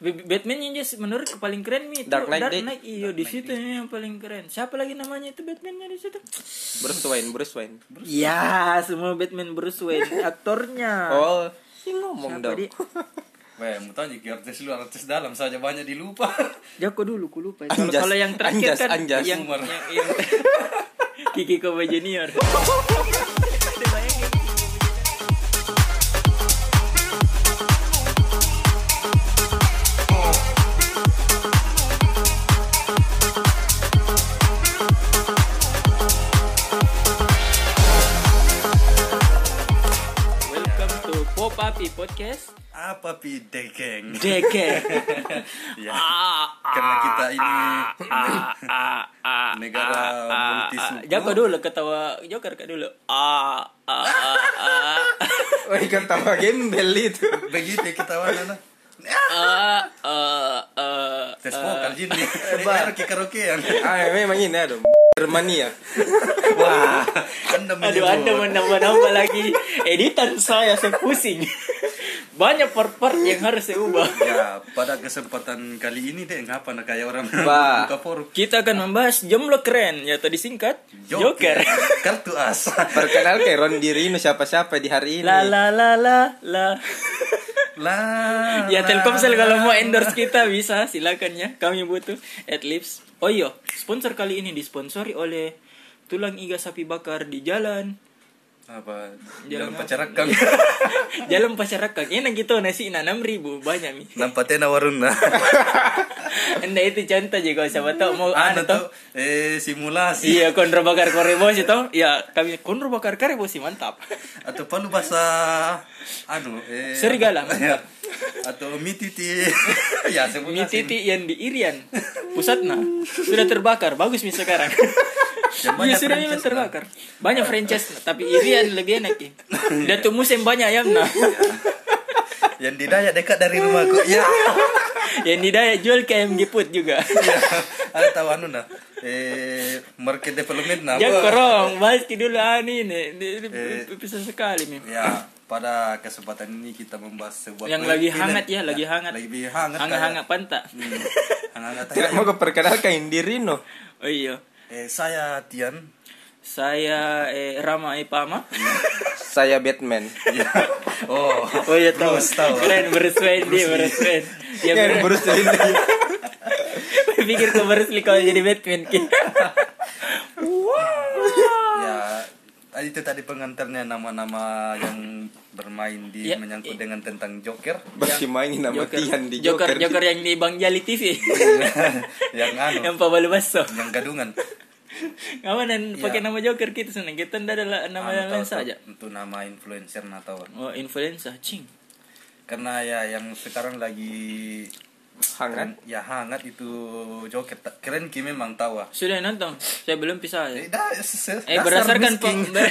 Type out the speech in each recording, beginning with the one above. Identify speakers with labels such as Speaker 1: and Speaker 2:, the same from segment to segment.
Speaker 1: B- Batman yang just menurut ke paling keren Mi, itu
Speaker 2: Dark Knight, Dik.
Speaker 1: iya di situ yang paling keren. Siapa lagi namanya itu Batman-nya di situ?
Speaker 2: Bruce Wayne, Bruce Wayne.
Speaker 1: Ya, semua Batman Bruce Wayne aktornya.
Speaker 2: Oh, ya ngomong
Speaker 1: Siapa
Speaker 2: dong.
Speaker 1: dia?
Speaker 3: Weh, mau tanya ke artis luar, artis dalam saja banyak dilupa.
Speaker 1: Joko dulu, ku lupa. Kalau
Speaker 2: Anjas,
Speaker 1: kalau yang terakhir
Speaker 2: anjas,
Speaker 1: kan
Speaker 2: anjas.
Speaker 1: yang
Speaker 3: Umar.
Speaker 1: yang, yang Kiki Koba Junior. Welcome to Pop Api Podcast.
Speaker 3: Apa pide, geng?
Speaker 1: Deke.
Speaker 3: Ya.
Speaker 1: Ah,
Speaker 3: Karena kita ini negara multisuku.
Speaker 1: Ah, Joko dulu ketawa Joker kak dulu. Ah, ah, ah, ah,
Speaker 2: Oh, ikan tawa gembel itu.
Speaker 3: Begitu kita warna. nah.
Speaker 1: ah, ah, ah.
Speaker 3: Tes vokal jin nih.
Speaker 1: eh,
Speaker 3: Karaoke karaokean.
Speaker 2: Ah, memang ini ya. ada Germania.
Speaker 3: Wah, Anda
Speaker 1: Aduh, anda
Speaker 3: menyebut.
Speaker 1: menambah-nambah lagi editan saya saya pusing. Banyak part-part yang harus saya ubah.
Speaker 3: Ya, pada kesempatan kali ini deh ngapa nak kayak orang
Speaker 2: Wah.
Speaker 3: buka forum.
Speaker 1: Kita akan membahas jomblo keren ya tadi singkat Joker.
Speaker 3: Kartu as.
Speaker 2: Perkenalkan Ron Dirino siapa-siapa di hari ini.
Speaker 1: La la la la la.
Speaker 3: Lah.
Speaker 1: Ya
Speaker 3: lah,
Speaker 1: Telkomsel
Speaker 3: lah,
Speaker 1: kalau mau
Speaker 3: lah.
Speaker 1: endorse kita bisa silakan ya. Kami butuh Adlibs. Oh iya, sponsor kali ini disponsori oleh Tulang Iga Sapi Bakar di jalan
Speaker 3: apa
Speaker 1: Jalan
Speaker 3: jalan pacarakang
Speaker 1: Jalan Pasarakan. Enak gitu nasi na 6000 banyak mi.
Speaker 3: nampaknya nawarun nah
Speaker 1: Anda itu contoh je kalau siapa tahu mau
Speaker 3: anu
Speaker 1: anu
Speaker 3: tuh
Speaker 1: tahu.
Speaker 3: eh simulasi
Speaker 1: Iya, konro bakar korebo sih tahu. Ya, kami konro bakar korebo sih mantap.
Speaker 3: atau perlu bahasa anu eh
Speaker 1: Serigala.
Speaker 3: ya. atau mititi ya sebut
Speaker 1: Mi
Speaker 3: asin.
Speaker 1: titik yang di Irian pusatnya sudah terbakar. Bagus mi sekarang.
Speaker 3: Dan
Speaker 1: Iya
Speaker 3: banyak
Speaker 1: sudah memang
Speaker 3: franchise,
Speaker 1: terbakar. Banyak franchise tapi Irian lebih enak ya. Dan tuh musim banyak ayam nah.
Speaker 3: yang di Dayak dekat dari rumahku ya
Speaker 1: Yang di daya jual ke ayam giput juga.
Speaker 3: Ya. ada tahu anu nah eh market development nah
Speaker 1: Jangan
Speaker 3: apa?
Speaker 1: korong, bahas ki dulu ah ini nih. Di- di-
Speaker 3: Eh.
Speaker 1: Bisa sekali mi.
Speaker 3: ya pada kesempatan ini kita membahas sebuah
Speaker 1: Yang lagi
Speaker 3: film.
Speaker 1: hangat ya, lagi hangat.
Speaker 3: lagi hangat Hmm.
Speaker 1: Hangat-hangat pantak.
Speaker 3: hangat
Speaker 2: Tidak mau keperkenalkan Dirino.
Speaker 1: Oh iya.
Speaker 3: eh saya Tian
Speaker 1: Saya eh, Rama Ipama.
Speaker 3: Hmm.
Speaker 2: Saya Batman.
Speaker 3: Iya. oh
Speaker 1: Oh iya tahu.
Speaker 3: Bruce, tahu.
Speaker 1: Keren Bruce Wayne dia Bruce Wayne. Ya,
Speaker 2: Ya,
Speaker 1: Bruce.
Speaker 2: Bruce Lee.
Speaker 1: Pikir ke Bruce Lee kalau jadi Batman ki.
Speaker 3: ya tadi itu tadi pengantarnya nama-nama yang bermain di
Speaker 1: Ya.
Speaker 3: menyangkut dengan tentang Joker
Speaker 2: Bersimain nama Tian di
Speaker 1: Joker,
Speaker 2: Joker.
Speaker 1: Joker yang di Bang Jali
Speaker 3: Iya,
Speaker 1: TV.
Speaker 3: yang anu
Speaker 1: yang Pabalu Basso.
Speaker 3: yang gadungan
Speaker 1: Kamu dan pakai
Speaker 3: Iya.
Speaker 1: nama Joker kita senang. Kita ndak ada la- nama
Speaker 3: Anu
Speaker 1: yang lain
Speaker 3: tahu-
Speaker 1: saja.
Speaker 3: untuk nama influencer atau
Speaker 1: Oh, influencer, cing.
Speaker 3: karena ya yang sekarang lagi
Speaker 2: Hangat.
Speaker 1: Kan?
Speaker 3: keren, ya hangat itu Joker Ta- keren ki memang tawa
Speaker 1: Sudah nonton? Saya belum pisah. Ya.
Speaker 3: eh, dah, se- se-
Speaker 1: Eh
Speaker 3: dasar
Speaker 1: berdasarkan
Speaker 3: miskin.
Speaker 1: pe- ber-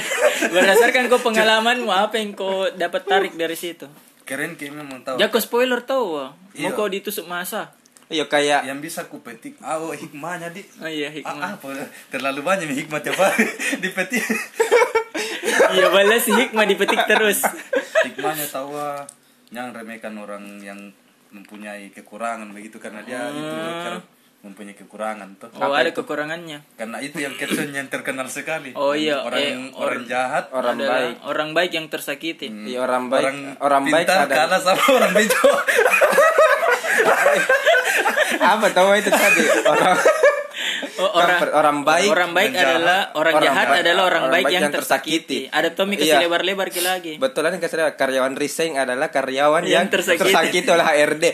Speaker 1: berdasarkan kau pengalamanmu apa yang kau dapat tarik dari situ?
Speaker 3: keren ki memang tawa
Speaker 1: Jago spoiler tahu wah. Mau
Speaker 3: Oh. Iya.
Speaker 1: kau ditusuk masa?
Speaker 2: Yo Iya, kayak
Speaker 3: yang bisa ku petik ah, oh, hikmahnya di
Speaker 1: Oh iya
Speaker 3: Ah,
Speaker 1: hikmah.
Speaker 3: apa terlalu banyak hikmah tiap hari dipetik
Speaker 1: Iya balas hikmah dipetik terus.
Speaker 3: hikmahnya tawa yang remehkan orang yang mempunyai kekurangan begitu karena dia itu Joker mempunyai kekurangan tuh
Speaker 1: Oh ada kekurangannya.
Speaker 3: karena itu yang caption yang terkenal sekali
Speaker 1: Oh iya,
Speaker 3: orang
Speaker 1: eh,
Speaker 3: orang Hmm.
Speaker 1: or-
Speaker 3: jahat
Speaker 2: orang
Speaker 1: Adalah
Speaker 2: baik.
Speaker 1: Orang baik yang tersakiti.
Speaker 2: Iya, orang baik.
Speaker 3: orang
Speaker 2: Orang baik
Speaker 3: pintar
Speaker 2: ada.
Speaker 3: kalah sama orang bejo
Speaker 2: Apa tahu itu tadi? Orang
Speaker 1: Oh, orang
Speaker 2: Orang- orang baik
Speaker 1: Orang baik
Speaker 3: dan jahat.
Speaker 1: adalah orang,
Speaker 2: Orang
Speaker 1: jahat
Speaker 2: baik-
Speaker 1: adalah orang, baik, yang, tersakiti.
Speaker 2: tersakiti.
Speaker 1: Ada Tommy kasih
Speaker 2: Iya.
Speaker 1: lebar-lebar ki lagi.
Speaker 2: Betul kan kata karyawan resign adalah karyawan
Speaker 1: Yang
Speaker 2: yang,
Speaker 1: tersakiti.
Speaker 2: tersakiti. oleh HRD.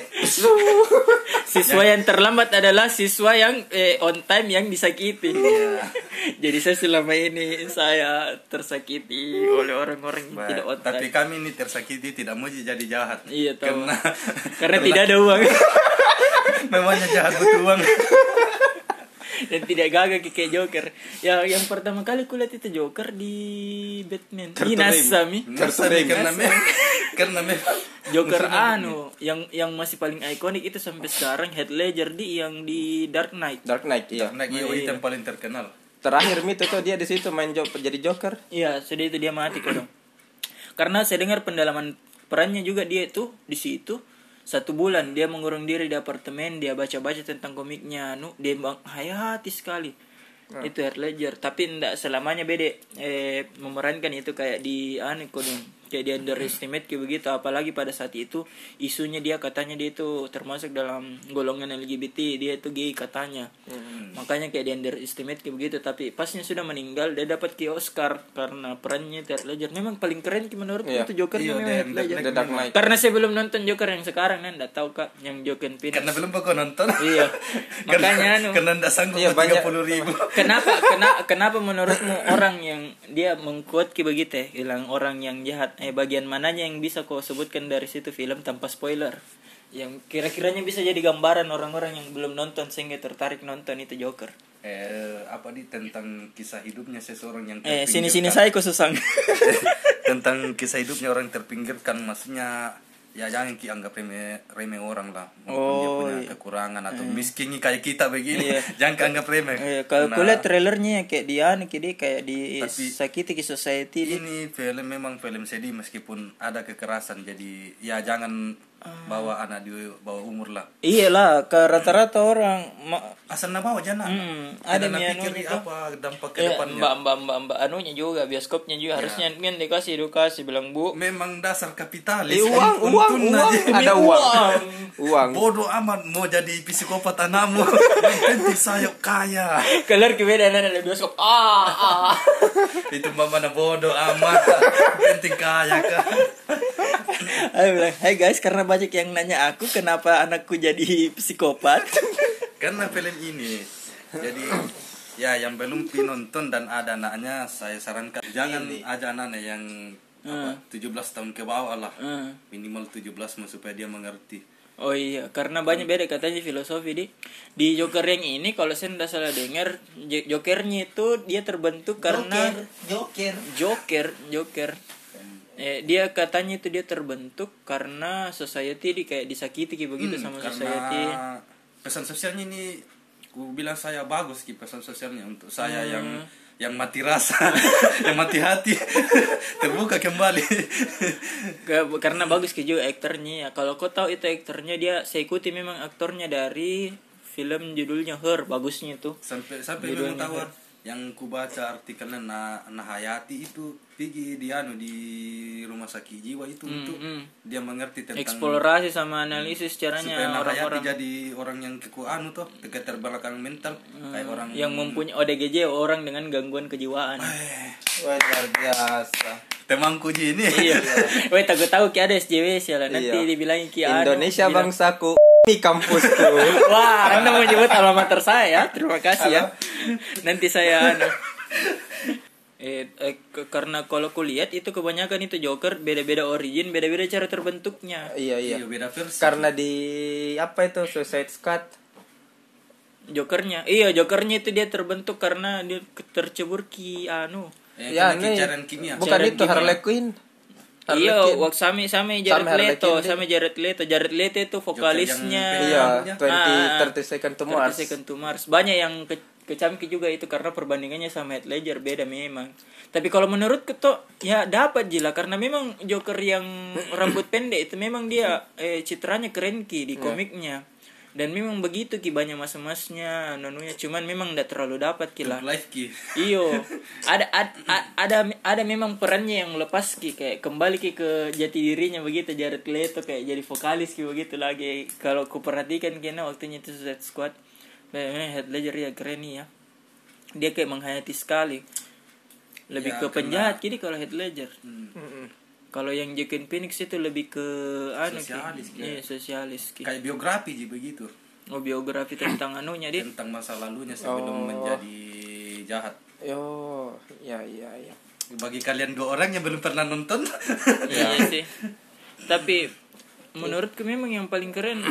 Speaker 1: Siswa yang terlambat adalah siswa yang eh, on time yang disakiti. Jadi saya selama ini saya tersakiti oleh orang-orang yang tidak on time.
Speaker 3: tapi kami ini tersakiti tidak mau jadi jahat
Speaker 1: Iya tahu.
Speaker 3: karena
Speaker 1: Karena tidak ada uang
Speaker 3: memangnya jahat butuh uang
Speaker 1: dan tidak gagah kayak Joker. Ya yang pertama kali kulihat itu Joker di Batman. Di
Speaker 2: Tertulis.
Speaker 1: NASA mi.
Speaker 3: Ngerti, karena memang karena memang
Speaker 1: Joker anu yang yang masih paling ikonik itu sampai sekarang Heath Ledger di yang di Dark Knight.
Speaker 2: Dark Knight iya.
Speaker 3: karena Gio itu yang paling terkenal
Speaker 2: Terakhir Mito tuh dia di situ main job jadi Joker.
Speaker 1: Iya, sudah itu dia mati kodong. Karena saya dengar pendalaman perannya juga dia itu di situ satu bulan dia mengurung diri di apartemen dia baca-baca tentang komiknya nu dia bang hayati sekali itu Heath Ledger tapi enggak selamanya bede eh, memerankan itu kayak di anu kodong kayak di underestimate kayak begitu apalagi pada saat itu isunya dia katanya dia itu termasuk dalam golongan LGBT dia itu gay katanya makanya kayak di underestimate kayak begitu tapi pasnya sudah meninggal dia dapat ki Oscar karena perannya Heath Ledger memang paling keren ki menurutku
Speaker 2: Iya.
Speaker 1: itu Joker
Speaker 3: Iya,
Speaker 1: memang
Speaker 3: dan
Speaker 1: Heath Ledger.
Speaker 2: The Dark Knight.
Speaker 1: karena saya belum nonton Joker yang sekarang dan enggak tahu kak yang Joker Phoenix
Speaker 3: Karena belum pokok nonton.
Speaker 1: iya makanya
Speaker 3: karena,
Speaker 1: anu
Speaker 3: karena ndak sanggup
Speaker 2: Iya,
Speaker 3: tiga
Speaker 2: banyak.
Speaker 3: puluh ribu.
Speaker 1: kenapa kenapa kenapa menurutmu orang yang dia mengkuat ki begitu ya, bilang orang yang jahat eh bagian mananya yang bisa kau sebutkan dari situ film tanpa spoiler yang kira-kiranya bisa jadi gambaran orang-orang yang belum nonton sehingga tertarik nonton itu Joker
Speaker 3: Eh, apa di tentang kisah hidupnya seseorang yang
Speaker 1: eh sini-sini
Speaker 3: terpinggirkan.
Speaker 1: saya kususang
Speaker 3: tentang kisah hidupnya orang yang terpinggirkan maksudnya ya jangan ki anggap remeh remeh orang lah walaupun dia
Speaker 1: Oh,
Speaker 3: punya
Speaker 1: iya.
Speaker 3: kekurangan atau miskin kayak kita begini
Speaker 1: Iya.
Speaker 3: jangan ki anggap remeh
Speaker 1: eh, kalau
Speaker 3: Nah,
Speaker 1: kulihat trailernya kayak dia nih kayak dia kayak di
Speaker 3: Tapi- Iya.
Speaker 1: sakiti ki society dia-
Speaker 3: ini film memang film sedih meskipun ada kekerasan jadi ya jangan
Speaker 1: Ah.
Speaker 3: bawa anak di bawah umur lah
Speaker 1: iyalah ke rata-rata orang ma-
Speaker 3: asal nak bawa jana
Speaker 1: Hmm, ada
Speaker 3: Jangan nak
Speaker 1: yang
Speaker 3: pikir
Speaker 1: anu
Speaker 3: ni
Speaker 1: itu.
Speaker 3: apa dampak ke
Speaker 1: Iya,
Speaker 3: depannya Iya.
Speaker 1: mbak mbak mbak mbak anunya juga bioskopnya juga harusnya kan dikasih edukasi bilang bu
Speaker 3: memang dasar
Speaker 2: Eh,
Speaker 3: kapitalis
Speaker 2: uang,
Speaker 3: Un-
Speaker 2: uang,
Speaker 3: untun
Speaker 2: uang.
Speaker 3: aja.
Speaker 2: Ada uang. Uang.
Speaker 3: bodoh amat mau jadi psikopat anakmu yang penting sayap kaya
Speaker 1: Kelar ke beda dan ada bioskop. Ah, ah.
Speaker 3: itu mama mana bodoh amat Yang penting kaya kan
Speaker 1: Aku bilang, "Hai guys, karena banyak yang nanya aku kenapa anakku jadi psikopat."
Speaker 3: karena film ini jadi ya yang belum pi nonton dan ada anaknya saya sarankan jangan aja anaknya yang apa,
Speaker 2: Hmm.
Speaker 3: 17 tahun ke bawah lah
Speaker 1: Hmm.
Speaker 3: minimal 17 mah supaya dia mengerti
Speaker 1: Oh iya, karena banyak beda katanya filosofi di di Joker yang ini kalau saya tidak salah dengar J- Jokernya itu dia terbentuk karena
Speaker 2: Joker.
Speaker 1: Joker, Joker. Eh, dia katanya itu dia terbentuk karena society di kayak disakiti kayak begitu gitu sama society.
Speaker 3: Hmm, karena pesan sosialnya ini ku bilang saya bagus ki pesan sosialnya untuk saya
Speaker 1: Hmm.
Speaker 3: yang yang mati rasa yang mati hati terbuka kembali
Speaker 1: Ke- karena bagus ke juga aktornya ya. Kalau kau tahu itu aktornya dia saya ikuti memang aktornya dari film judulnya Her bagusnya itu.
Speaker 3: sampai sampai
Speaker 1: Judulnya
Speaker 3: memang tawar yang ku baca artikelnya nah Nahayati itu pergi di anu di rumah sakit jiwa itu untuk
Speaker 1: hmm.
Speaker 3: dia mengerti tentang
Speaker 1: Eksplorasi sama analisis
Speaker 3: supaya
Speaker 1: caranya
Speaker 3: Nahayati
Speaker 1: orang-orang
Speaker 3: jadi orang yang keku anu tuh keterbelakang mental kayak
Speaker 1: Hmm.
Speaker 3: orang
Speaker 1: yang mempunyai ODGJ orang dengan gangguan kejiwaan.
Speaker 2: Wah, luar biasa.
Speaker 3: temanku Ji ini
Speaker 1: iya. Weh takut tahu ki ada SJW sialan ya nanti
Speaker 2: Iya.
Speaker 1: dibilangin ki anu,
Speaker 2: Indonesia
Speaker 1: bilang-
Speaker 2: bangsaku di kampusku.
Speaker 1: Wah, Anda mau nyebut alamater saya ya. Terima kasih ya. Nanti saya anu. Eh, eh, ke- karena kalau kulihat itu kebanyakan itu Joker beda-beda origin, beda-beda cara terbentuknya.
Speaker 2: iya, iya.
Speaker 3: Iya, beda versi
Speaker 2: Karena di apa itu Suicide Squad
Speaker 1: Jokernya. Iya, Jokernya itu dia terbentuk karena dia ke- tercebur ki anu.
Speaker 3: Eh,
Speaker 2: Ya,
Speaker 3: karena
Speaker 2: ini
Speaker 3: kicaran kimia
Speaker 2: bukan
Speaker 1: Jared
Speaker 2: itu Harley Quinn. Harley
Speaker 1: Iya,
Speaker 2: Quinn.
Speaker 1: wak sami sami Jared
Speaker 2: Harley
Speaker 1: Leto,
Speaker 2: Quinn dia.
Speaker 1: sami Jared Leto. Jared Leto itu vokalisnya.
Speaker 2: Iya,
Speaker 3: Ah,
Speaker 2: 20
Speaker 1: ah.
Speaker 2: 30 second to
Speaker 1: 30
Speaker 2: Mars.
Speaker 1: Second to Mars. Banyak yang ke kecamki juga itu karena perbandingannya sama Heath Ledger beda memang. Tapi kalau menurut ketok ya dapat jila karena memang Joker yang rambut pendek itu memang dia eh, citranya keren ki di komiknya. Dan memang begitu ki banyak mas-masnya nonunya cuman memang ndak terlalu dapat ki lah.
Speaker 3: live ki
Speaker 1: Iyo, ada ada ada ada memang perannya yang lepas ki kayak kembali ki ke jati dirinya begitu Jared Leto kayak jadi vokalis ki begitu lagi. Kalau ku perhatikan kena waktunya itu Suicide Squad, memang Heath Ledger ya keren nih ya. Dia kayak menghayati sekali. Lebih
Speaker 3: Ya, Hmm.
Speaker 1: ke
Speaker 3: karena-
Speaker 1: penjahat kini kalau Heath Ledger. Kalau yang Joaquin Phoenix itu lebih ke anu Ki.
Speaker 3: Sosialis, Ki.
Speaker 1: Iya, sosialis ki.
Speaker 3: kayak biografi ji begitu
Speaker 1: Oh, biografi tentang anunya dia.
Speaker 3: tentang masa lalunya
Speaker 1: Oh.
Speaker 3: sebelum menjadi jahat
Speaker 2: Yo, ya ya ya.
Speaker 3: bagi kalian dua orang yang belum pernah nonton
Speaker 1: Iya sih. Tapi menurutku memang yang paling keren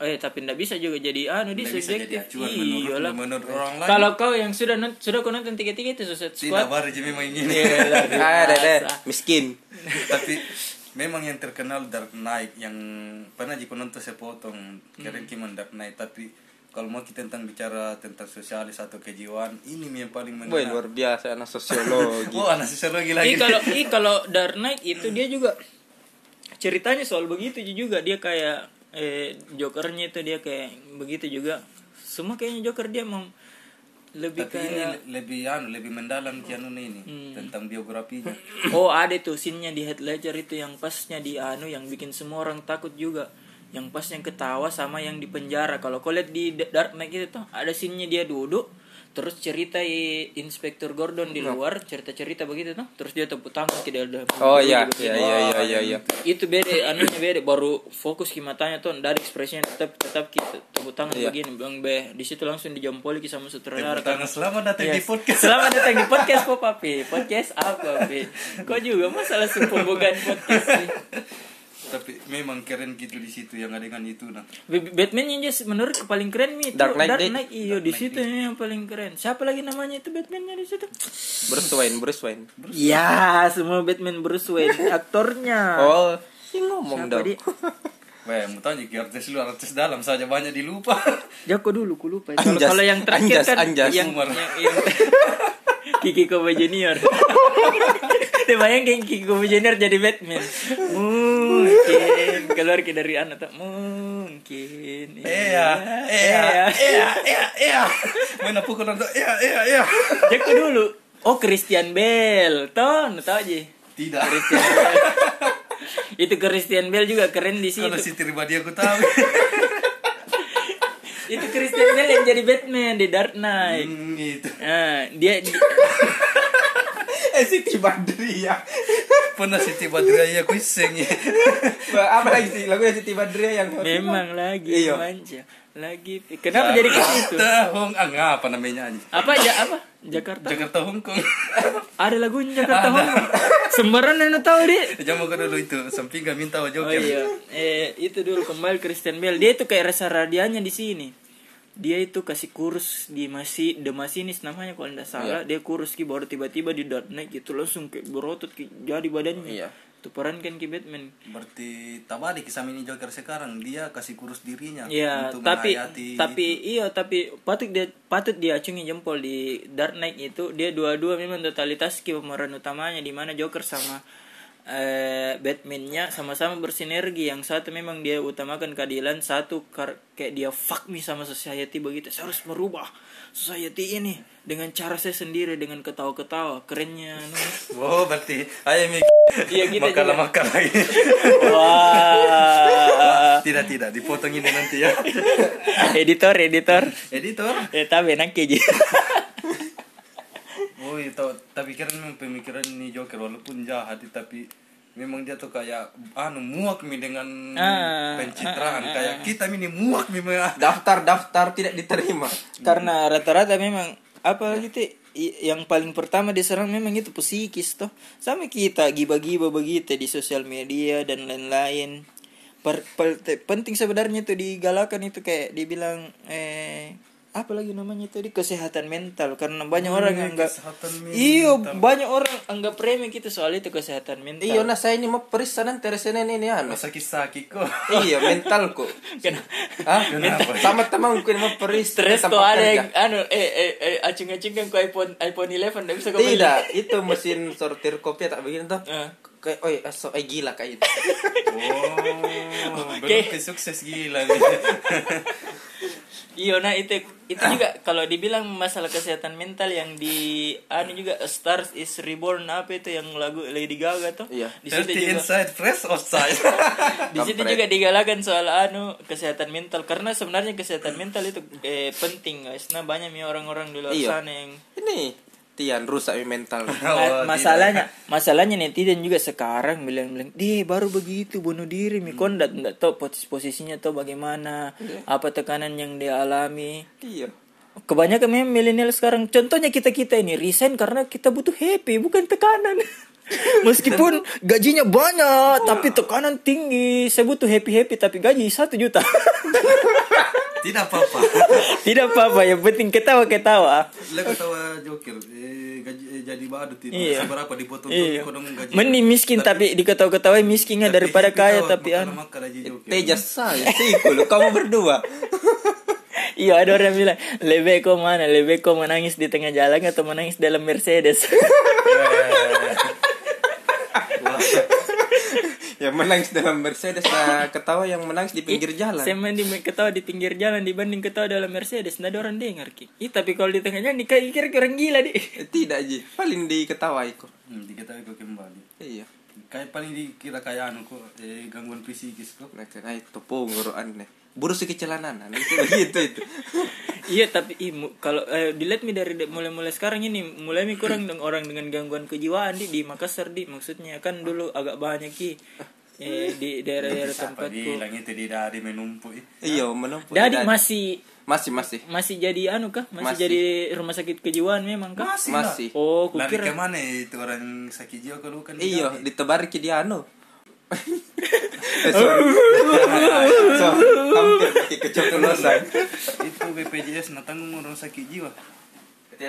Speaker 1: eh tapi ndak bisa juga jadi anu di
Speaker 3: Nggak bisa jadi
Speaker 1: subjektif.
Speaker 3: acuan menurut,
Speaker 1: Iyalah.
Speaker 3: menurut orang lain
Speaker 1: Kalau kau yang sudah non- sudah kau nonton tiga-tiga itu Suicide
Speaker 3: tidak
Speaker 1: Squad. Iya,
Speaker 3: baru ji memang ini
Speaker 2: Ah, deh, deh. miskin.
Speaker 3: tapi memang yang terkenal Dark Knight yang pernah ji penonton sepotong
Speaker 1: Hmm.
Speaker 3: keren kiman Dark Knight tapi kalau mau kita tentang bicara tentang sosialis atau kejiwaan ini yang paling
Speaker 2: Woi,
Speaker 3: menarik
Speaker 2: luar biasa anak sosiologi.
Speaker 3: oh anak sosiologi
Speaker 1: Ih
Speaker 3: lagi
Speaker 1: kalau ih kalau Dark Knight itu dia juga ceritanya soal begitu juga dia kayak eh jokernya itu dia kayak begitu juga semua kayaknya joker dia mem lebih
Speaker 3: Tapi ini
Speaker 1: kayak Hmm.
Speaker 3: le- lebih anu, lebih mendalam Keanu ini tentang biografinya.
Speaker 1: oh ada tuh scene-nya di Head Ledger itu yang pasnya di anu yang bikin semua orang takut juga yang pas yang ketawa sama yang di penjara kalau kau lihat di Da- Dark Knight itu tuh ada scene-nya dia duduk terus cerita i- Inspektur Gordon di luar cerita-cerita begitu tuh terus dia tepuk tangan tidak ada
Speaker 2: Oh iya, iya iya iya iya iya.
Speaker 1: itu beda anunya beda baru fokus ki matanya tuh dari ekspresinya tetap tetap kita tepuk tangan
Speaker 2: Iya.
Speaker 1: begini bang be di situ langsung dijampoli ki sama sutradara
Speaker 3: Karena selamat datang di podcast.
Speaker 1: Selamat datang di podcast Pop Api. Podcast apa, Pi? Kok juga masalah pembogaan podcast sih.
Speaker 3: Tapi memang keren gitu di situ yang adegan itu nah.
Speaker 1: B- Batman yang just menurut paling keren nih itu
Speaker 2: Dark Knight, Dik.
Speaker 1: iya di situ yang paling keren. Siapa lagi namanya itu Batman-nya di situ?
Speaker 2: Bruce Wayne, Bruce Wayne.
Speaker 1: Ya, semua Batman Bruce Wayne aktornya.
Speaker 2: Oh, ini ngomong dong.
Speaker 1: dia?
Speaker 3: Weh, mau tanya ki artis luar artis dalam saja banyak dilupa.
Speaker 1: Joko dulu, ku lupa. Kalau
Speaker 2: Anjas,
Speaker 1: kalau yang terakhir
Speaker 2: Anjas,
Speaker 1: kan
Speaker 2: Anjas.
Speaker 1: yang
Speaker 3: Umar.
Speaker 1: yang- yang- Kiki Koba Junior. Dia bayangin Kiki Koba Junior jadi Batman. Mungkin keluar ke dari anak tak mungkin.
Speaker 3: Iya, iya, iya, iya, iya. Mana pukul nonton, iya, iya, iya.
Speaker 1: Joko dulu. Oh Christian Bale, ton, tahu aja.
Speaker 3: Tidak.
Speaker 1: Itu Christian Bale juga keren di situ.
Speaker 3: Kalau si Tiribadi aku tahu.
Speaker 1: Itu Christian Bale yang jadi Batman di Dark Knight.
Speaker 3: Hmm, itu.
Speaker 1: Ah, dia di-
Speaker 2: Eh Siti Badria.
Speaker 3: Pernah Siti Badriah aku iseng ya.
Speaker 2: Apa lagi sih lagunya Siti Badria yang
Speaker 1: memang lagi
Speaker 2: Iya.
Speaker 1: manja. Lagi kenapa jadi gitu? ke situ?
Speaker 3: Tahung, ah, nggak, apa namanya aja.
Speaker 1: apa ja apa Jakarta
Speaker 3: Jakarta Hongkong.
Speaker 1: ada lagunya Jakarta Hongkong sembarangan yang tahu deh
Speaker 3: Jangan makan dulu itu. Sampai nggak minta wajah.
Speaker 1: oh iya eh itu dulu kembali Christian Bale dia itu kayak rasa radianya di sini dia itu kasih kurus di masih The Machinist namanya kalau nggak salah dia kurus ki baru tiba-tiba di Dark Knight gitu langsung kayak berotot ki jadi badannya
Speaker 2: Iya.
Speaker 1: itu peran kan ki Batman
Speaker 3: Berarti tabari kisah mini Joker sekarang dia kasih kurus dirinya
Speaker 1: Iya,
Speaker 3: untuk
Speaker 1: tapi
Speaker 3: menghayati gitu.
Speaker 1: tapi iya tapi patut dia patut diacungi jempol di Dark Knight itu dia dua-dua memang totalitas ki pemeran utamanya di mana Joker sama eh, Batman-nya sama-sama bersinergi yang satu memang dia utamakan keadilan satu kar- kayak dia fuck me sama society begitu saya harus merubah society ini dengan cara saya sendiri dengan ketawa-ketawa kerennya anu. nih.
Speaker 3: Wow, Oh, berarti ayo mik.
Speaker 1: Iya, kita
Speaker 3: makalah makalah ini.
Speaker 1: wah
Speaker 3: tidak tidak dipotong ini nanti ya.
Speaker 1: editor editor
Speaker 3: Editor.
Speaker 1: eh tapi nangke je.
Speaker 3: Woi, tau, Oh, iya, tapi keren memang pemikiran ini Joker walaupun jahat tapi memang dia tuh kayak anu muak mi dengan
Speaker 1: Ah,
Speaker 3: pencitraan kayak kita mi ini muak mi memang.
Speaker 2: Daftar daftar tidak diterima.
Speaker 1: karena rata-rata memang apa gitu i- yang paling pertama diserang memang itu psikis toh sama kita giba-giba begitu di sosial media dan lain-lain Per- per- te- penting sebenarnya itu digalakan itu kayak dibilang eh apa lagi namanya itu di kesehatan mental karena banyak orang yang enggak
Speaker 3: kesehatan
Speaker 1: iyo banyak orang anggap remeh gitu soal itu kesehatan mental
Speaker 2: Iya, nah saya ini mau periksa dan teresenen ini anu.
Speaker 3: Masa kisah Oh, kiko.
Speaker 2: Iya, mentalku.
Speaker 1: Kena-
Speaker 2: Hah?
Speaker 3: Kenapa?
Speaker 2: Sama temanku ini mau periksa
Speaker 1: stres
Speaker 2: tempat
Speaker 1: tuh ada
Speaker 2: kerja.
Speaker 1: yang anu eh eh, eh acung-acung kan ku iPhone iPhone 11 nggak bisa kau beli.
Speaker 2: Tidak, itu mesin sortir kopi tak begini tuh.
Speaker 1: Eh.
Speaker 2: Kayak, oi, so, eh, gila kayak itu.
Speaker 3: Oh,
Speaker 1: Oke.
Speaker 3: berarti sukses gila.
Speaker 1: Iya, nah itu itu
Speaker 2: Ah.
Speaker 1: juga kalau dibilang masalah kesehatan mental yang di anu juga A Stars is Reborn apa itu yang lagu Lady Gaga tuh.
Speaker 2: Iya.
Speaker 1: Di situ
Speaker 3: Dirty
Speaker 1: juga
Speaker 3: inside, fresh outside.
Speaker 1: di situ juga
Speaker 2: Kampret.
Speaker 1: digalakan soal anu kesehatan mental karena sebenarnya kesehatan mental itu eh, penting guys. Nah, banyak nih orang-orang di luar
Speaker 2: Iya.
Speaker 1: sana yang
Speaker 2: Ini Tian rusak ini mental.
Speaker 3: Oh,
Speaker 1: Ma- masalahnya masalahnya netizen juga sekarang bilang-bilang di baru begitu bunuh diri
Speaker 2: Hmm.
Speaker 1: mi kon ndak ndak tahu pos- posisinya atau bagaimana apa tekanan yang dia alami
Speaker 2: Iya.
Speaker 1: Kebanyakan memang milenial sekarang Contohnya kita-kita ini Resign karena kita butuh happy Bukan tekanan Meskipun gajinya banyak Tapi tekanan tinggi Saya butuh happy-happy Tapi gaji 1 juta
Speaker 3: Tidak apa-apa.
Speaker 1: Tidak apa-apa Yang penting ketawa-ketawa
Speaker 3: Lah ketawa Joker eh, gaji, eh, jadi badut itu.
Speaker 1: Iya.
Speaker 3: Seberapa dipotong
Speaker 1: Iya.
Speaker 3: kau dong gaji. ya.
Speaker 1: Mending miskin tapi diketawa-ketawain miskinnya
Speaker 3: Tapi
Speaker 1: daripada
Speaker 3: happy
Speaker 1: kaya
Speaker 3: tawa,
Speaker 1: tapi anu.
Speaker 3: makan-makan gaji Joker.
Speaker 2: Tejas saya, siku lu kamu berdua.
Speaker 1: Iya ada orang bilang Lebih kau mana Lebih kau menangis di tengah jalan Atau menangis dalam Mercedes
Speaker 3: Wah,
Speaker 2: ya yang menangis dalam Mercedes nah ketawa yang menangis di pinggir jalan
Speaker 1: Saya main di ketawa di pinggir jalan dibanding ketawa dalam Mercedes. Nah, ada orang dengar ki. Ih, tapi kalau di tengah jalan dikira kira orang gila deh.
Speaker 2: Eh, tidak ji paling diketawai kok
Speaker 3: Hmm, diketahui kok kembali.
Speaker 2: iya
Speaker 3: Kayak paling dikira kayak anu kok eh, gangguan fisikis kok.
Speaker 2: nah kena itu pengorokan nih burus kecelanan Nah, itu begitu itu
Speaker 1: iya, tapi ih, mu- kalau eh, dilihat mi dari de- mulai-mulai sekarang ini mulai mi kurang deng- orang dengan gangguan kejiwaan di di Makassar di maksudnya kan dulu agak banyak ki eh, di daerah-daerah
Speaker 3: Siapa
Speaker 1: tempatku.
Speaker 3: bilang itu di dari menumpuk eh.
Speaker 2: iya menempuh
Speaker 1: Dadi
Speaker 2: Dadi.
Speaker 1: masih
Speaker 2: masih masih
Speaker 1: masih jadi anu kah? Masih,
Speaker 2: Masih.
Speaker 1: jadi rumah sakit kejiwaan memang kah?
Speaker 3: lah.
Speaker 2: masih
Speaker 1: Oh,
Speaker 3: Lari
Speaker 1: kukira
Speaker 3: ke mana itu orang sakit jiwa kalau bukan di
Speaker 2: iya
Speaker 3: Dari?
Speaker 2: ditebar ke dia anu eh, sorry so, hampir bikin keceplosan
Speaker 3: itu BPJS nah tanggung orang sakit jiwa.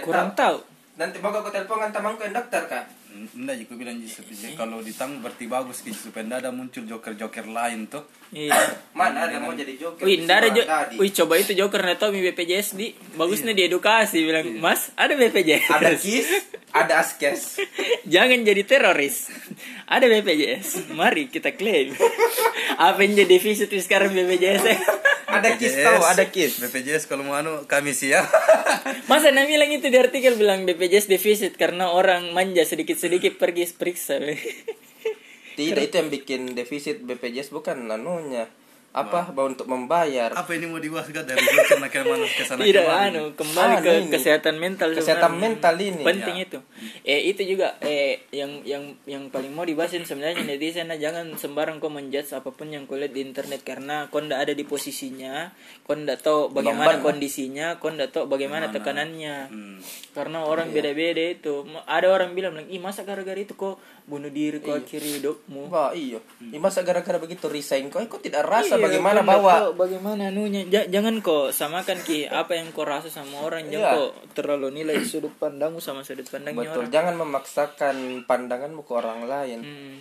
Speaker 1: kurang tahu.
Speaker 2: nanti bakal aku telepon kan temanku yang daftar kak
Speaker 3: Enggak juga bilang justru kalau ditang berarti bagus gitu supaya ndak ada muncul joker-joker lain tuh.
Speaker 1: Iya.
Speaker 2: mana ada mau jadi joker
Speaker 1: Wih, ntar ada jo-
Speaker 2: Tadi. Iya.
Speaker 1: Wih, coba itu Joker neto mi BPJS di bagusnya di edukasi bilang, "Mas, ada BPJS.
Speaker 2: ada kis ada askes
Speaker 1: Jangan jadi teroris. Ada BPJS. Mari kita klaim. Apa yang jadi defisit di sekarang BPJS? -nya?
Speaker 2: ada kis
Speaker 3: BPJS.
Speaker 2: tahu ada kis
Speaker 3: BPJS kalau mau anu kami sih ya.
Speaker 1: Masa Nana bilang itu di artikel bilang BPJS defisit karena orang manja sedikit-sedikit pergi periksa.
Speaker 2: tidak itu yang bikin defisit BPJS bukan nanunya
Speaker 1: Ah.
Speaker 2: apa bah, untuk membayar
Speaker 3: Apa ini mau dibahas gak dari joker nak ke mana ke sana
Speaker 1: Tidak
Speaker 3: kemari?
Speaker 1: anu, kembali
Speaker 2: Ah,
Speaker 1: ke
Speaker 2: ini.
Speaker 1: kesehatan mental
Speaker 2: Kesehatan
Speaker 1: sebenarnya.
Speaker 2: mental ini,
Speaker 1: Penting
Speaker 3: ya.
Speaker 1: itu. Eh itu juga eh yang yang yang paling mau dibahasin sebenarnya netizen nah, jangan sembarang kau menjudge apapun yang kau lihat di internet karena kau ndak ada di posisinya, kau ndak tahu bagaimana
Speaker 2: Beban,
Speaker 1: kondisinya, kau ndak tahu bagaimana tekanannya.
Speaker 3: Hmm.
Speaker 1: Karena
Speaker 2: Iya.
Speaker 1: orang beda-beda itu. Ma- Ada orang bilang, "Ih, masa gara-gara itu kok bunuh diri kau
Speaker 2: Iya.
Speaker 1: akhiri hidupmu?"
Speaker 2: Wah iya, Ya, masa gara-gara begitu resign kok, eh, kok tidak rasa
Speaker 1: Hmm. Iya,
Speaker 2: bagaimana
Speaker 1: kau ndak
Speaker 2: bawa
Speaker 1: tahu bagaimana anunya Ja- jangan kok samakan ki apa yang kau rasa sama orang jangan
Speaker 2: Iya.
Speaker 1: kok terlalu nilai sudut pandangmu sama sudut pandangnya orang
Speaker 2: Betul, jangan memaksakan pandanganmu ke orang lain.
Speaker 1: Hmm.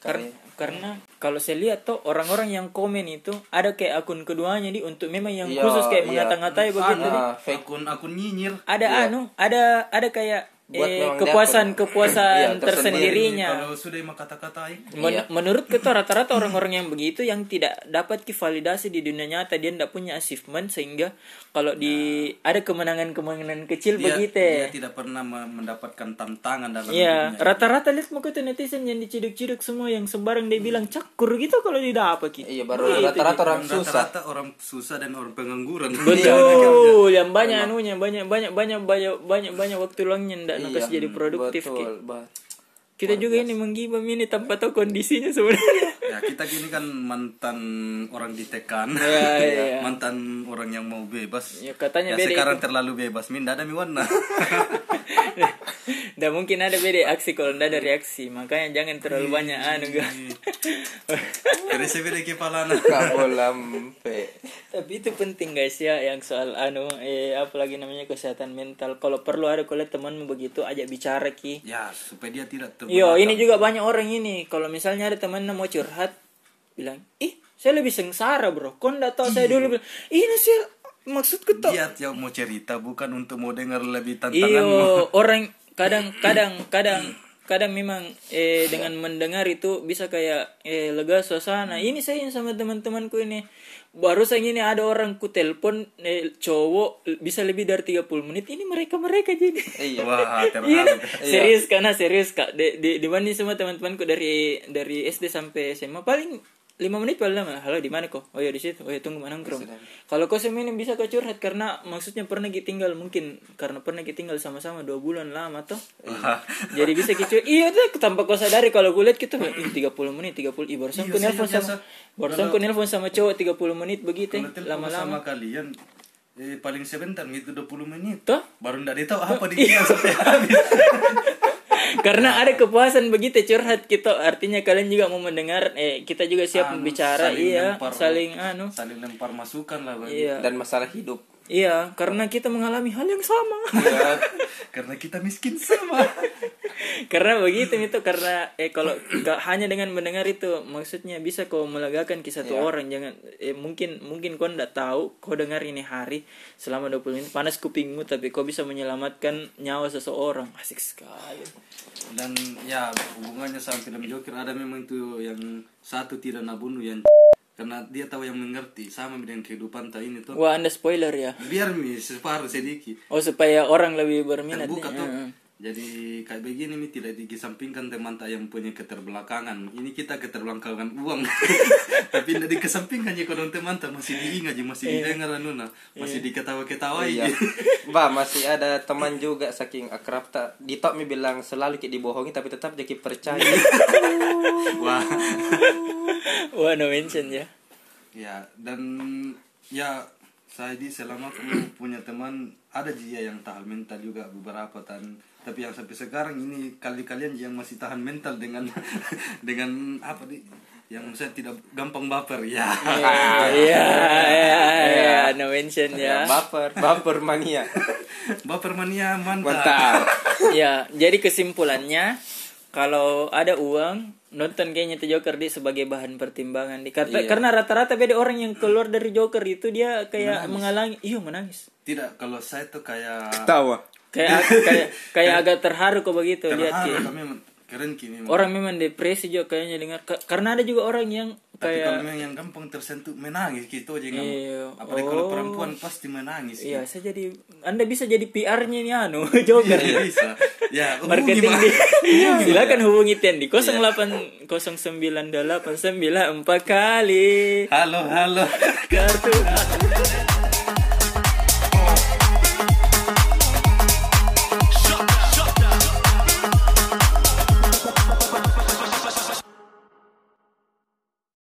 Speaker 1: Kar-
Speaker 2: Karena
Speaker 1: karena kalau saya lihat tuh orang-orang yang komen itu ada kayak akun keduanya di untuk memang yang
Speaker 2: Iya,
Speaker 1: khusus kayak
Speaker 2: iya.
Speaker 1: mengata-ngatai begitu di.
Speaker 2: Ah, fake
Speaker 3: Anu, Akun akun nyinyir.
Speaker 1: ada anu ada ada kayak
Speaker 2: Buat
Speaker 1: eh,
Speaker 2: memang dia
Speaker 1: kepuasan
Speaker 2: akun- Iya,
Speaker 1: kepuasan
Speaker 2: tersendiri.
Speaker 1: tersendirinya
Speaker 3: Kalau sudah emang kata-katain
Speaker 1: Men-
Speaker 2: Iya.
Speaker 1: Menurut kita rata-rata orang-orang yang begitu yang tidak dapat ki validasi di dunia nyata dia tidak punya achievement sehingga kalau di
Speaker 2: Nah.
Speaker 1: ada kemenangan-kemenangan
Speaker 2: Iya.
Speaker 1: kecil
Speaker 3: dia,
Speaker 1: begitu. Ya,
Speaker 3: dia tidak pernah me- mendapatkan tantangan dalam
Speaker 1: gitu. Iya,
Speaker 3: hidupnya.
Speaker 1: rata-rata lihat muka tuh netizen yang diciduk-ciduk semua yang sembarang dia bilang cakur gitu kalau tidak apa ki.
Speaker 2: Iya, baru rata-rata orang
Speaker 1: gitu.
Speaker 3: Dan
Speaker 2: susah.
Speaker 3: Rata-rata orang susah dan orang pengangguran.
Speaker 1: Betul,
Speaker 2: Iya.
Speaker 1: yang banyak anunya, banyak banyak banyak banyak banyak banyak waktu luangnya ndak
Speaker 2: Iya,
Speaker 1: nakas jadi produktif ki.
Speaker 2: Betul, ba-
Speaker 1: Kita juga ini menggibah ini tanpa tahu kondisinya sebenarnya.
Speaker 3: ya kita gini kan mantan orang ditekan.
Speaker 1: Iya, iya, iya.
Speaker 3: Mantan orang yang mau bebas.
Speaker 1: Ya, katanya
Speaker 3: Ya,
Speaker 1: beda
Speaker 3: sekarang terlalu bebas. Min, ndak ada mi warna.
Speaker 1: Nggak mungkin ada beda aksi kalau nggak ada reaksi Makanya jangan terlalu banyak anu gua.
Speaker 3: Jadi saya beda kepala nah.
Speaker 2: Kabolampe.
Speaker 1: Tapi itu penting guys ya yang soal anu eh apalagi namanya kesehatan mental. Kalau perlu ada kalau temanmu begitu ajak bicara ki.
Speaker 3: Ya, supaya dia tidak terbuka.
Speaker 1: Yo ini juga banyak orang ini kalau misalnya ada teman mau curhat bilang ih saya lebih sengsara bro. Kau nggak tahu saya dulu bilang ini sih maksudku tuh.
Speaker 3: Dia yang Iya, mau cerita bukan untuk mau dengar lebih tantanganmu.
Speaker 1: Iyo orang kadang kadang kadang kadang memang eh dengan mendengar itu bisa kayak eh lega suasana. Ini saya yang sama teman-temanku ini. Baru saya ini ada orang ku telepon eh, cowok l- bisa lebih dari 30 menit. Ini mereka-mereka jadi.
Speaker 2: Iya.
Speaker 3: Wah,
Speaker 1: Iya,
Speaker 3: terharu.
Speaker 1: serius karena serius Kak. Di di dibanding semua teman-temanku dari dari SD sampai SMA paling lima menit paling lama halo di mana kok oh ya di situ oh ya tunggu mana nongkrong kalau kau semen bisa kau curhat karena maksudnya pernah kita tinggal mungkin karena pernah kita tinggal sama-sama dua bulan lama toh
Speaker 3: Iya.
Speaker 1: jadi bisa kita iya tuh tanpa kau sadari kalau gue lihat kita ih 30 menit 30 ih barusan
Speaker 3: Iya,
Speaker 1: ku nelpon
Speaker 3: saya
Speaker 1: sama
Speaker 3: biasa.
Speaker 1: barusan ku nelpon sama cowok 30 menit begitu
Speaker 3: Kalau telepon
Speaker 1: lama-lama
Speaker 3: sama kalian eh, paling sebentar gitu 20 menit.
Speaker 1: Tuh. Iya.
Speaker 3: Baru ndak dia tahu apa dikira sampai habis.
Speaker 1: Karena ada kepuasan begitu curhat kita, artinya kalian juga mau mendengar, eh kita juga siap
Speaker 3: Anu,
Speaker 1: bicara,
Speaker 3: saling
Speaker 1: iya,
Speaker 3: lempar.
Speaker 1: saling anu,
Speaker 3: Saling lempar masukan lah bagi.
Speaker 1: iya.
Speaker 2: Dan masalah hidup.
Speaker 1: Iya, karena kita mengalami hal yang sama.
Speaker 3: Ya, karena kita miskin sama.
Speaker 1: karena begitu itu karena eh kalau ka- hanya dengan mendengar itu maksudnya bisa kau melegakan kisah
Speaker 3: Iya.
Speaker 1: satu orang jangan eh mungkin mungkin kau ndak tahu kau dengar ini hari selama 20 menit panas kupingmu tapi kau bisa menyelamatkan nyawa seseorang asik sekali
Speaker 3: Dan ya hubungannya sama film Joker ada memang itu yang satu tidak nabunuh yang karena dia tahu yang mengerti sama dengan kehidupan tak ini tuh.
Speaker 1: wah anda spoiler ya
Speaker 3: Biar mi separuh sedikit
Speaker 1: oh supaya orang lebih berminat ya.
Speaker 3: terbuka
Speaker 1: nih.
Speaker 3: tuh.
Speaker 1: Iya, Heeh.
Speaker 3: Jadi kayak begini mi tidak dikesampingkan teman tak yang punya keterbelakangan. Ini kita keterbelakangan uang. Tapi tidak dikesampingkan ya kalau teman tak masih diingat je, masih
Speaker 1: Iya.
Speaker 3: didengar anuna, masih ya. diketawa-ketawai.
Speaker 2: Iya.
Speaker 3: je.
Speaker 2: Bah masih ada teman juga saking akrab tak di top mi bilang selalu kita dibohongi tapi tetap jadi percaya.
Speaker 3: Wah.
Speaker 1: wah no mention ya
Speaker 3: Ya, dan ya saya di selama aku punya teman ada dia yang tahan mental juga beberapa tan tapi yang sampai sekarang ini kali kalian yang masih tahan mental dengan dengan apa di yang saya tidak gampang baper ya
Speaker 1: iya iya iya no mention ya
Speaker 3: Iya.
Speaker 2: Baper, baper mania.
Speaker 3: baper mania mantap,
Speaker 2: Mantap.
Speaker 1: ya jadi kesimpulannya kalau ada uang nonton kayaknya The Joker di sebagai bahan pertimbangan di karena,
Speaker 3: Iya.
Speaker 1: karena rata-rata beda orang yang keluar dari Joker itu dia kayak mengalami iya menangis
Speaker 3: tidak kalau saya tuh kayak
Speaker 2: Tawa.
Speaker 1: kayak kayak kayak agak terharu kok begitu lihat
Speaker 3: terharu
Speaker 1: kayak.
Speaker 3: kami keren kini
Speaker 1: orang memang depresi juga kayaknya dengar Ka- karena ada juga orang yang kayak
Speaker 3: tapi kalau memang yang gampang tersentuh menangis gitu aja kamu
Speaker 1: Iya.
Speaker 3: apalagi kalau perempuan pasti menangis
Speaker 1: iya saya jadi Anda bisa jadi PR-nya nih anu Joker
Speaker 3: Iya, bisa ya hubungi,
Speaker 1: marketing
Speaker 3: Ma.
Speaker 1: di silakan hubungi Tendi 080989 4 kali
Speaker 3: halo halo
Speaker 1: kartu